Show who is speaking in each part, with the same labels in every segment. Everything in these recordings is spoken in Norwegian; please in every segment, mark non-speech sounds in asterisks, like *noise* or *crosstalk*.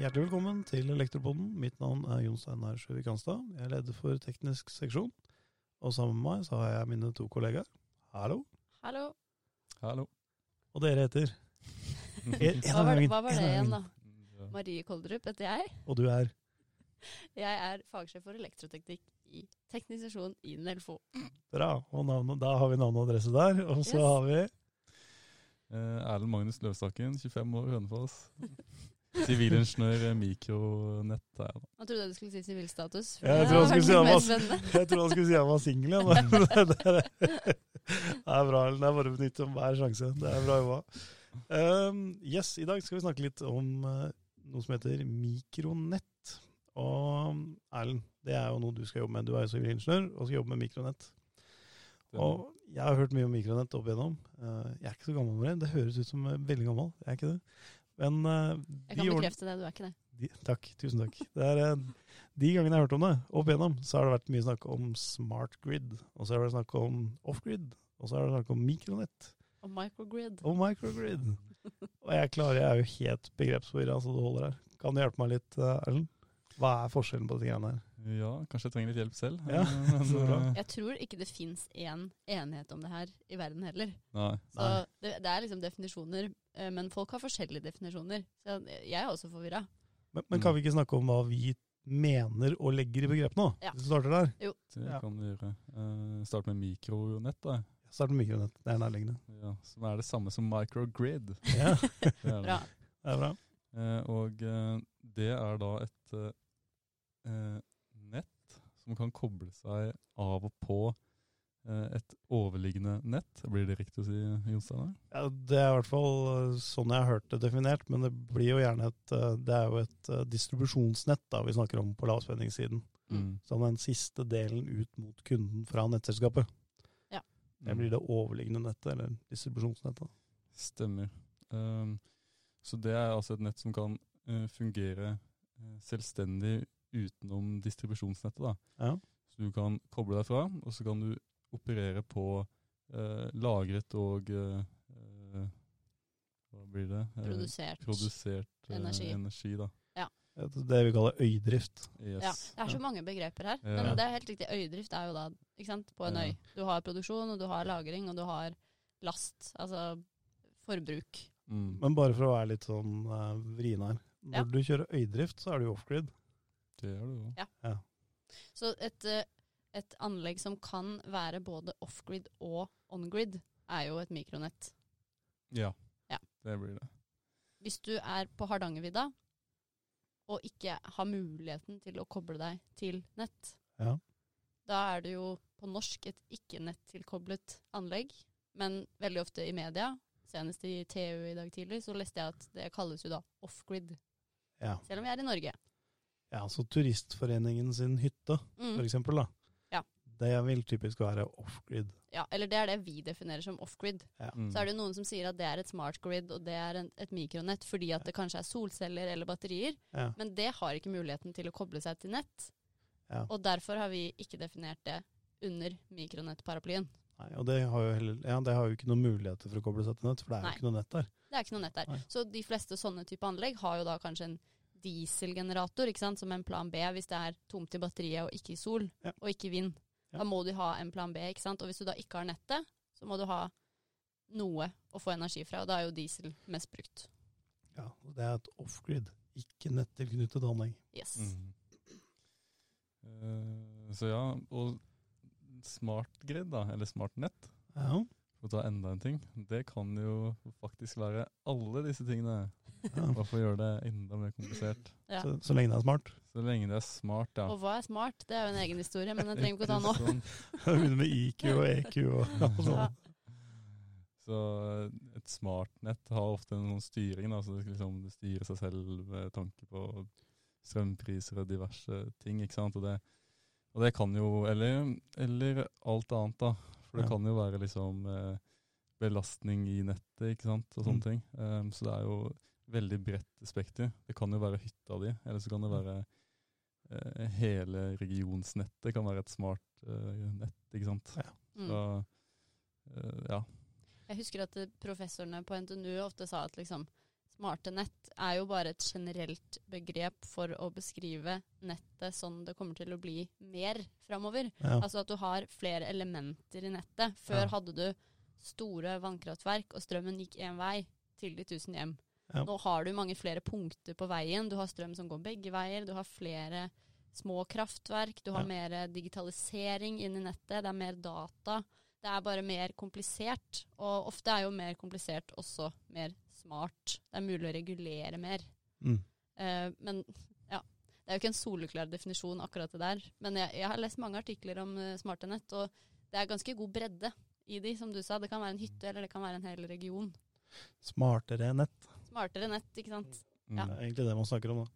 Speaker 1: Hjertelig velkommen til Elektropoden. Mitt navn er Jon Steinar Sjøvik Hanstad. Jeg er leder for teknisk seksjon. Og sammen med meg så har jeg mine to kollegaer. Hallo.
Speaker 2: Hallo.
Speaker 3: Hallo.
Speaker 1: Og dere heter En- en
Speaker 2: Hva
Speaker 1: av
Speaker 2: var,
Speaker 1: gangen,
Speaker 2: hva var
Speaker 1: en
Speaker 2: det
Speaker 1: av
Speaker 2: igjen, da?
Speaker 1: gangen.
Speaker 3: Ja.
Speaker 2: Marie Koldrup heter jeg.
Speaker 1: Og du er
Speaker 2: Jeg er fagsjef for elektroteknikk i teknisk sesjon i Nelfo.
Speaker 1: Bra. Og navn, da har vi navn og adresse der. Og så
Speaker 2: Yes.
Speaker 1: har vi
Speaker 3: Eh, Erlend Magnus Løvstakken, 25 år, Hønefoss. *laughs* Sivilingeniør, eh, mikronett. er jeg da.
Speaker 2: Jeg trodde du skulle si sivilstatus. for
Speaker 1: Ja, jeg
Speaker 2: det
Speaker 1: trodde
Speaker 2: hadde
Speaker 1: han skulle
Speaker 2: vært
Speaker 1: si
Speaker 2: litt mer
Speaker 1: *laughs*
Speaker 2: spennende.
Speaker 1: Jeg trodde han skulle si han var singel, jeg. men *laughs* Det er det er bra. Ellen. Det er bare å benytte hver sjanse. Det er bra jobba. Ehm, yes, i dag skal vi snakke litt om eh, noe som heter mikronett. Og Erlend, det er jo noe du skal jobbe med. Du er jo sivilingeniør og skal jobbe med mikronett. Og jeg har hørt mye om mikronett opp igjennom. Eh, jeg er ikke så gammel, Marie. Det høres ut som eh, veldig gammel. Jeg er ikke det. Men eh,
Speaker 2: Jeg
Speaker 1: de
Speaker 2: kan
Speaker 1: ordene-
Speaker 2: bekrefte det, du er ikke det.
Speaker 1: de, takk, tusen takk. Det er, eh, de gangene jeg har hørt om det, opp igjennom, så har det vært mye snakk om smart grid, og så har det vært snakk om off-grid, og så har det vært snakk om mikronett
Speaker 2: Og microgrid.
Speaker 1: og microgrid. Og jeg klarer, jeg er jo helt begrepsforvirra, så det holder her. Kan du hjelpe meg litt, eh, Erlend? Hva er forskjellen på disse greiene her?
Speaker 3: Ja, kanskje jeg trenger litt hjelp selv.
Speaker 1: Ja,
Speaker 3: eh, men,
Speaker 1: så bra.
Speaker 3: eh,
Speaker 2: Jeg tror ikke det fins én enighet om det her i verden heller.
Speaker 3: Nei.
Speaker 2: Så
Speaker 1: Nei.
Speaker 2: det, det er liksom definisjoner, eh, men folk har forskjellige definisjoner. Så jeg jeg er også forvirra.
Speaker 1: Men, men kan vi ikke snakke om hva vi mener og legger i begrepene, da?
Speaker 2: Ja.
Speaker 1: Hvis vi starter der.
Speaker 3: Det
Speaker 1: Ja.
Speaker 3: kan du gjøre. Eh, start med mikronett, da.
Speaker 1: Start med mikronett. Det er nærliggende.
Speaker 3: Ja, som er det samme som microgrid.
Speaker 1: Ja,
Speaker 3: Det er det.
Speaker 2: Bra.
Speaker 1: det er bra.
Speaker 3: Eh, og eh, det er da et eh, eh, nett som kan koble seg av og på eh, et overliggende nett. Blir det riktig å si, Jon Steinar?
Speaker 1: Ja, det er i hvert fall eh, sånn jeg har hørt det definert, men det blir jo gjerne et eh, Det er jo et eh, distribusjonsnett da vi snakker om på lavspenningssiden.
Speaker 2: Mm.
Speaker 1: Som den siste delen ut mot kunden fra nettselskapet. Det
Speaker 3: Mm.
Speaker 1: blir det overliggende nettet, eller distribusjonsnettet.
Speaker 3: Stemmer. Ehm, så det er altså et nett som kan eh, fungere eh, selvstendig utenom distribusjonsnettet. Da.
Speaker 1: Ja.
Speaker 3: Så du kan koble deg fra, og så kan du operere på eh, lagret og eh, eh, Hva blir det? Eh,
Speaker 2: Produsert.
Speaker 3: produsert eh,
Speaker 2: Energi.
Speaker 3: energi da.
Speaker 1: Det det vi kaller øydrift.
Speaker 3: Yes.
Speaker 2: Ja, det er så
Speaker 3: Ja.
Speaker 2: mange begreper her.
Speaker 3: Ja.
Speaker 2: Men det er helt riktig. Øydrift er jo da ikke sant, på en
Speaker 3: Ja.
Speaker 2: øy. Du har produksjon, og du har lagring, og du har last. Altså forbruk.
Speaker 3: Mm,
Speaker 1: Men bare for å være litt sånn eh, vrien her. Når
Speaker 2: Ja.
Speaker 1: du kjører øydrift, så er du jo off-grid.
Speaker 3: det gjør det jo.
Speaker 2: Så et, eh, et anlegg som kan være både off-grid og on-grid, er jo et mikronett.
Speaker 3: Ja.
Speaker 2: Ja.
Speaker 3: Det blir det.
Speaker 2: Hvis du er på Hardangervidda og ikke har muligheten til å koble deg til nett,
Speaker 1: Ja.
Speaker 2: da er det jo på norsk et ikke-nettilkoblet anlegg. Men veldig ofte i media, senest i TU i dag tidlig, så leste jeg at det kalles jo da off-grid.
Speaker 1: Ja.
Speaker 2: Selv om vi er i Norge.
Speaker 1: ja, så Turistforeningen sin hytte,
Speaker 2: Mm.
Speaker 1: for eksempel, da.
Speaker 2: Ja.
Speaker 1: Det vil typisk være off-grid.
Speaker 2: Ja, eller det er det vi definerer som off-grid.
Speaker 3: Mm.
Speaker 2: Så er det jo noen som sier at det er et smart grid, og det er en, et mikronett fordi at det kanskje er solceller eller batterier,
Speaker 1: Ja.
Speaker 2: men det har ikke muligheten til å koble seg til nett.
Speaker 1: Ja.
Speaker 2: Og derfor har vi ikke definert det under mikronettparaplyen.
Speaker 1: Nei, og det har, jo heller, ja, det har jo ikke noen muligheter for å koble seg til nett, for det er
Speaker 2: Nei.
Speaker 1: jo ikke noe nett der.
Speaker 2: Det er ikke noe nett der.
Speaker 1: Nei.
Speaker 2: Så de fleste sånne type anlegg har jo da kanskje en dieselgenerator ikke sant? som en plan B hvis det er tomt i batteriet og ikke i sol
Speaker 1: Ja.
Speaker 2: og ikke vind.
Speaker 1: Ja.
Speaker 2: Da må du ha en plan B. ikke sant? Og hvis du da ikke har nettet, så må du ha noe å få energi fra, og da er jo diesel mest brukt.
Speaker 1: Ja, og det er et off-grid, ikke nettilknyttet anlegg.
Speaker 2: Yes.
Speaker 3: Mm. Eh, så ja, og smart grid, da, eller smart nett,
Speaker 1: Ja,
Speaker 3: for å ta enda en ting, det kan jo faktisk være alle disse tingene.
Speaker 1: ja.
Speaker 3: Bare for å gjøre det enda mer komplisert.
Speaker 2: Ja.
Speaker 1: Så, så lenge det er smart. *laughs*
Speaker 3: Så lenge det er smart, ja.
Speaker 2: Og hva er smart? Det er jo en egen historie, men den trenger vi ikke å ta nå.
Speaker 1: *laughs*
Speaker 3: Ikke sant?
Speaker 1: Det begynner med IQ og EQ og alt
Speaker 2: Ja.
Speaker 1: sånt.
Speaker 3: Så eh, et smartnett har ofte en sånn styring, da, så det, skal liksom, det styrer seg selv med tanke på strømpriser og diverse ting. ikke sant? Og det, og det kan jo eller, eller alt annet, da. For det
Speaker 1: Ja.
Speaker 3: kan jo være liksom eh, belastning i nettet ikke sant? og sånne
Speaker 1: Mm.
Speaker 3: ting. Ehm, så det er jo veldig bredt spekter. Det kan jo være hytta di, eller så kan det
Speaker 1: Mm.
Speaker 3: være eh, hele regionsnettet kan være et smart eh, nett. ikke sant?
Speaker 1: Ja.
Speaker 2: Mm.
Speaker 3: Så, eh, ja.
Speaker 2: Jeg husker at eh, professorene på NTNU ofte sa at liksom, smarte nett er jo bare et generelt begrep for å beskrive nettet sånn det kommer til å bli mer framover.
Speaker 1: Ja.
Speaker 2: Altså at du har flere elementer i nettet. Før
Speaker 1: Ja.
Speaker 2: hadde du store vannkraftverk, og strømmen gikk én vei til de tusen hjem.
Speaker 1: Ja.
Speaker 2: Nå har du mange flere punkter på veien. Du har strøm som går begge veier. Du har flere små kraftverk. Du har
Speaker 1: Ja.
Speaker 2: mer digitalisering inn i nettet. Det er mer data. Det er bare mer komplisert. Og ofte er jo mer komplisert også mer smart. Det er mulig å regulere mer.
Speaker 1: Mm.
Speaker 2: Eh, men ja, det er jo ikke en soleklar definisjon akkurat det der. Men jeg, jeg har lest mange artikler om eh, smarte nett, og det er ganske god bredde i de, som du sa. Det kan være en hytte, eller det kan være en hel region.
Speaker 1: Smartere nett.
Speaker 2: Smartere nett, ikke sant.
Speaker 3: Mm.
Speaker 2: Ja.
Speaker 1: Det er egentlig det man snakker om, da.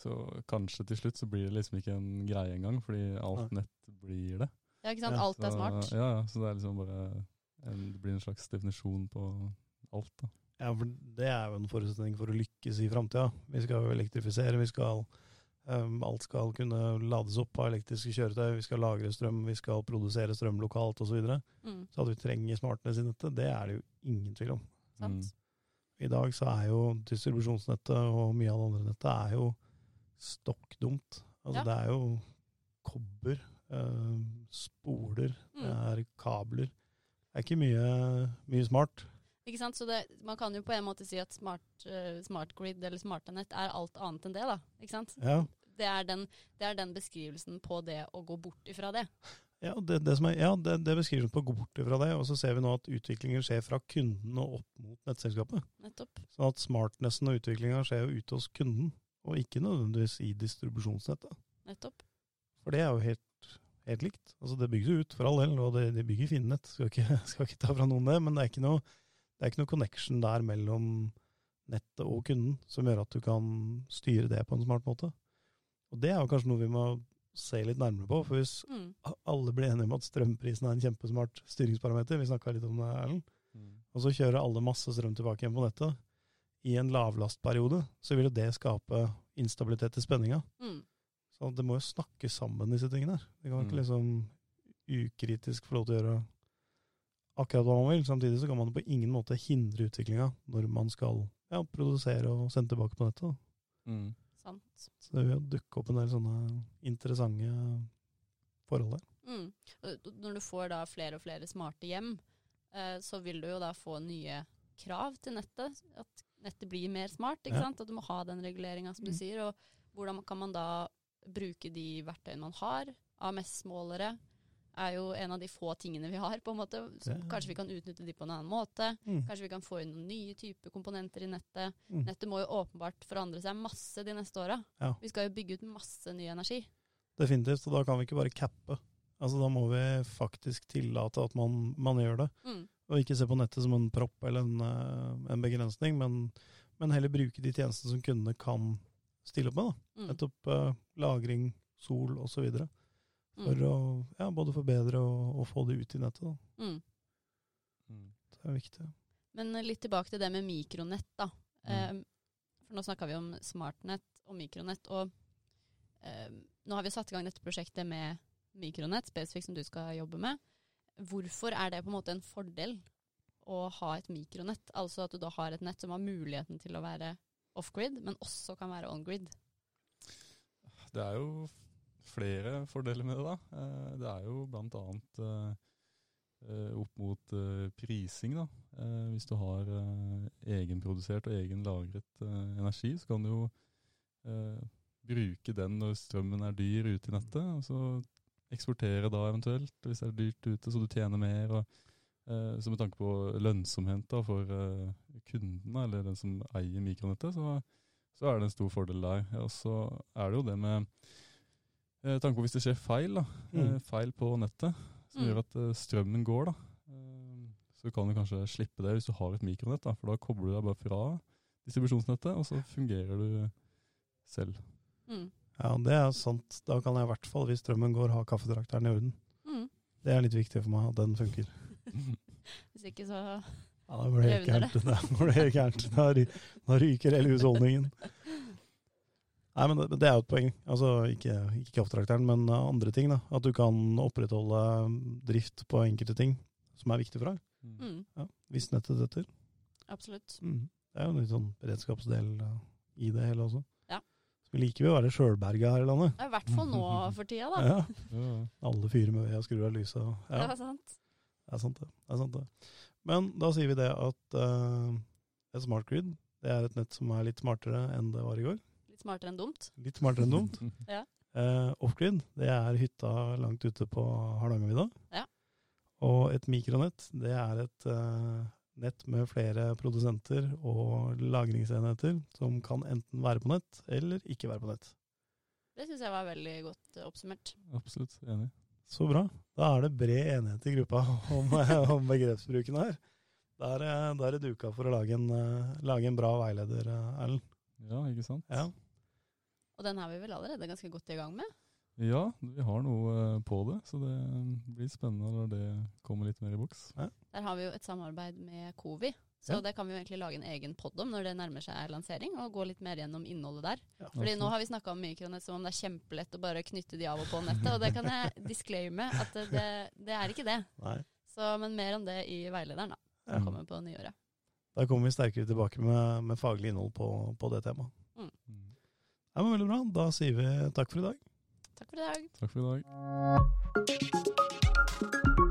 Speaker 3: Så kanskje til slutt så blir det liksom ikke en greie engang, fordi alt nett blir det.
Speaker 2: Ja, ikke sant.
Speaker 1: Ja,
Speaker 2: Alt er
Speaker 3: Så-
Speaker 2: smart.
Speaker 3: Ja, ja, så det er liksom bare en, Det blir en slags definisjon på alt, da.
Speaker 1: Ja, for det er jo en forutsetning for å lykkes i framtida. Vi skal jo elektrifisere, vi skal ehm, Alt skal kunne lades opp av elektriske kjøretøy, vi skal lagre strøm, vi skal produsere strøm lokalt osv. Så, videre.
Speaker 2: Mm,
Speaker 1: så at vi trenger smartness i nettet, det er det jo ingen tvil om.
Speaker 2: sant.
Speaker 3: Mm.
Speaker 1: I dag så er jo distribusjonsnettet og mye av det andre nettet er jo stokk dumt. Altså
Speaker 2: Ja.
Speaker 1: det er jo kobber, eh, spoler, det
Speaker 2: Mm.
Speaker 1: er kabler. Det er ikke mye, mye smart.
Speaker 2: Ikke sant? Så det, man kan jo på en måte si at smart, eh, smart grid eller smarte nett er alt annet enn det, da. Ikke sant?
Speaker 1: Ja,
Speaker 2: Det er den, det er den beskrivelsen på det å gå bort ifra det.
Speaker 1: ja, det, det, som er, ja det, det beskriver vi på gå bort fra det, og så ser vi nå at utviklingen skjer fra kunden og opp mot nettselskapet.
Speaker 2: Nettopp.
Speaker 1: Sånn at smartnessen og utviklinga skjer jo ute hos kunden, og ikke nødvendigvis i distribusjonsnettet.
Speaker 2: Nettopp.
Speaker 1: For det er jo helt, helt likt. Altså det bygges jo ut, for all del, og det, det bygger fine nett. Skal ikke, *laughs* skal ikke ta fra noen det, men det er, ikke noe, det er ikke noe connection der mellom nettet og kunden som gjør at du kan styre det på en smart måte. Og det er jo kanskje noe vi må se litt nærmere på, for hvis
Speaker 2: Mm.
Speaker 1: a- alle blir enige om at strømprisen er en kjempesmart styringsparameter, vi snakka litt om det, Erlend, og så kjører alle masse strøm tilbake igjen på nettet i en lavlastperiode, så vil jo det skape instabilitet i spenninga.
Speaker 2: Mm.
Speaker 1: Så det må jo snakke sammen, disse tingene her. Det kan
Speaker 3: Mm.
Speaker 1: ikke liksom ukritisk få lov til å gjøre akkurat hva man vil. Samtidig så kan man på ingen måte hindre utviklinga når man skal ja, produsere og sende tilbake på nettet. da.
Speaker 3: Mm.
Speaker 2: Sant.
Speaker 1: Så det vil jo dukke opp en del sånne interessante forhold der.
Speaker 2: Mm. Og d- Når du får da flere og flere smarte hjem, eh, så vil du jo da få nye krav til nettet. At nettet blir mer smart, ikke
Speaker 1: Ja.
Speaker 2: sant? At du må ha den reguleringa som du
Speaker 1: Mm.
Speaker 2: sier. Og hvordan kan man da bruke de verktøyene man har? AMS-målere er jo en av de få tingene vi har, på en måte. Så
Speaker 1: Det-
Speaker 2: kanskje vi kan utnytte de på en annen måte.
Speaker 1: Mm.
Speaker 2: Kanskje vi kan få inn noen nye typer komponenter i nettet.
Speaker 1: Mm.
Speaker 2: Nettet må jo åpenbart forandre seg masse de neste åra.
Speaker 1: Ja.
Speaker 2: Vi skal jo bygge ut masse ny energi.
Speaker 1: Definitivt. Og da kan vi ikke bare cappe. Altså Da må vi faktisk tillate at man, man gjør det.
Speaker 2: Mm.
Speaker 1: Og ikke se på nettet som en propp eller en, eh, en begrensning, men, men heller bruke de tjenestene som kundene kan stille opp med. da.
Speaker 2: Mm.
Speaker 1: Nettopp eh, lagring, sol osv. For
Speaker 2: Mm.
Speaker 1: å ja, både forbedre og, og få det ut i nettet. Da.
Speaker 2: Mm.
Speaker 3: Mm.
Speaker 1: Det er viktig.
Speaker 2: Men eh, litt tilbake til det med mikronett, da. Eh,
Speaker 3: Mm.
Speaker 2: for nå snakka vi om smartnett og mikronett, og eh, nå har vi satt i gang dette prosjektet med mikronett, spesifikt som du skal jobbe med. Hvorfor er det på en måte en fordel å ha et mikronett? Altså at du da har et nett som har muligheten til å være off-grid, men også kan være on-grid.
Speaker 3: Det er jo flere fordeler med det, da. Eh, Det er jo blant annet eh, eh, opp mot eh, prising, da. Eh, Hvis du har eh, egenprodusert og egenlagret eh, energi, så kan du jo eh, bruke den når strømmen er dyr ute i nettet, og så eksportere da eventuelt hvis det er dyrt ute, så du tjener mer. og eh, så med tanke på lønnsomhet da, for eh, kundene, eller den som eier mikronettet, så så er det en stor fordel der. Og så er det jo det med eh, tanke på hvis det skjer feil, da. Eh, feil på nettet, som
Speaker 2: Mm.
Speaker 3: gjør at eh, strømmen går, da. Eh, så kan du kanskje slippe det hvis du har et mikronett, da, for da kobler du deg bare fra distribusjonsnettet, og så fungerer du selv.
Speaker 2: Mm.
Speaker 1: Ja, det er sant. Da kan jeg i hvert fall, hvis strømmen går, ha kaffetrakteren i orden.
Speaker 2: Mm.
Speaker 1: Det er litt viktig for meg at den funker.
Speaker 2: Hvis ikke så
Speaker 1: Ja, Da går det helt gærent. *laughs* Da går det helt gærent. Da, ry- da ryker hele husholdningen. Nei, men det, det er jo et poeng. Altså, ikke, ikke krafttrakteren, men uh, andre ting. da. At du kan opprettholde um, drift på enkelte ting som er viktig for deg.
Speaker 3: Mm.
Speaker 2: Mm,
Speaker 1: Ja, hvis nettet detter.
Speaker 2: absolutt.
Speaker 1: Mm. Det er jo en litt sånn beredskapsdel uh, i det hele også.
Speaker 2: Ja.
Speaker 1: Så vi liker jo å være sjølberga her i landet.
Speaker 2: Ja, I hvert fall nå for tida, da.
Speaker 1: Ja.
Speaker 3: Ja, ja.
Speaker 1: Alle fyrer med ved og skrur av lyset. og-
Speaker 2: Ja,
Speaker 1: Ja,
Speaker 2: sant?
Speaker 1: det er sant det. det, er sant det. Men da sier vi det at uh, et smart grid det er et nett som er litt smartere enn det var i går.
Speaker 2: Litt smartere enn dumt.
Speaker 1: Litt smartere enn dumt.
Speaker 2: Ja.
Speaker 1: Eh, Off-grid, det er hytta langt ute på Hardangervidda.
Speaker 2: Ja.
Speaker 1: Og et mikronett, det er et eh, nett med flere produsenter og lagringsenheter som kan enten være på nett eller ikke være på nett.
Speaker 2: Det syns jeg var veldig godt eh, oppsummert.
Speaker 3: *laughs* Absolutt. Enig.
Speaker 1: Så bra. Da er det bred enighet i gruppa *laughs* om, eh, om begrepsbruken her. Da er, det- da er det duka for å lage en, eh, lage en bra veileder, eh, Erlend.
Speaker 3: Ja, ikke sant?
Speaker 1: Ja.
Speaker 2: Og den er vi vel allerede ganske godt i gang med.
Speaker 3: Ja, vi har noe eh, på det, så det eh, blir spennende når det kommer litt mer i boks.
Speaker 2: Der har vi jo et samarbeid med Covi. Så
Speaker 1: Ja.
Speaker 2: det kan vi jo egentlig lage en egen pod om når det nærmer seg lansering, og gå litt mer gjennom innholdet der. Fordi nå
Speaker 3: Absolutt.
Speaker 2: har vi snakka om mikronett som om det er kjempelett å bare knytte de av og på nettet, og det kan
Speaker 1: *laughs*
Speaker 2: jeg disclaime at det, det, det er ikke det.
Speaker 1: Nei.
Speaker 2: Så, men mer om det i veilederen, da.
Speaker 1: Ja.
Speaker 2: Som kommer på nyåret.
Speaker 1: Da kommer vi sterkere tilbake med, med faglig innhold på, på det temaet.
Speaker 3: Mm.
Speaker 1: Ja, men Veldig bra. Da sier vi takk for i dag.
Speaker 2: Takk for i dag.
Speaker 3: Takk for i dag.
Speaker 1: Thank you.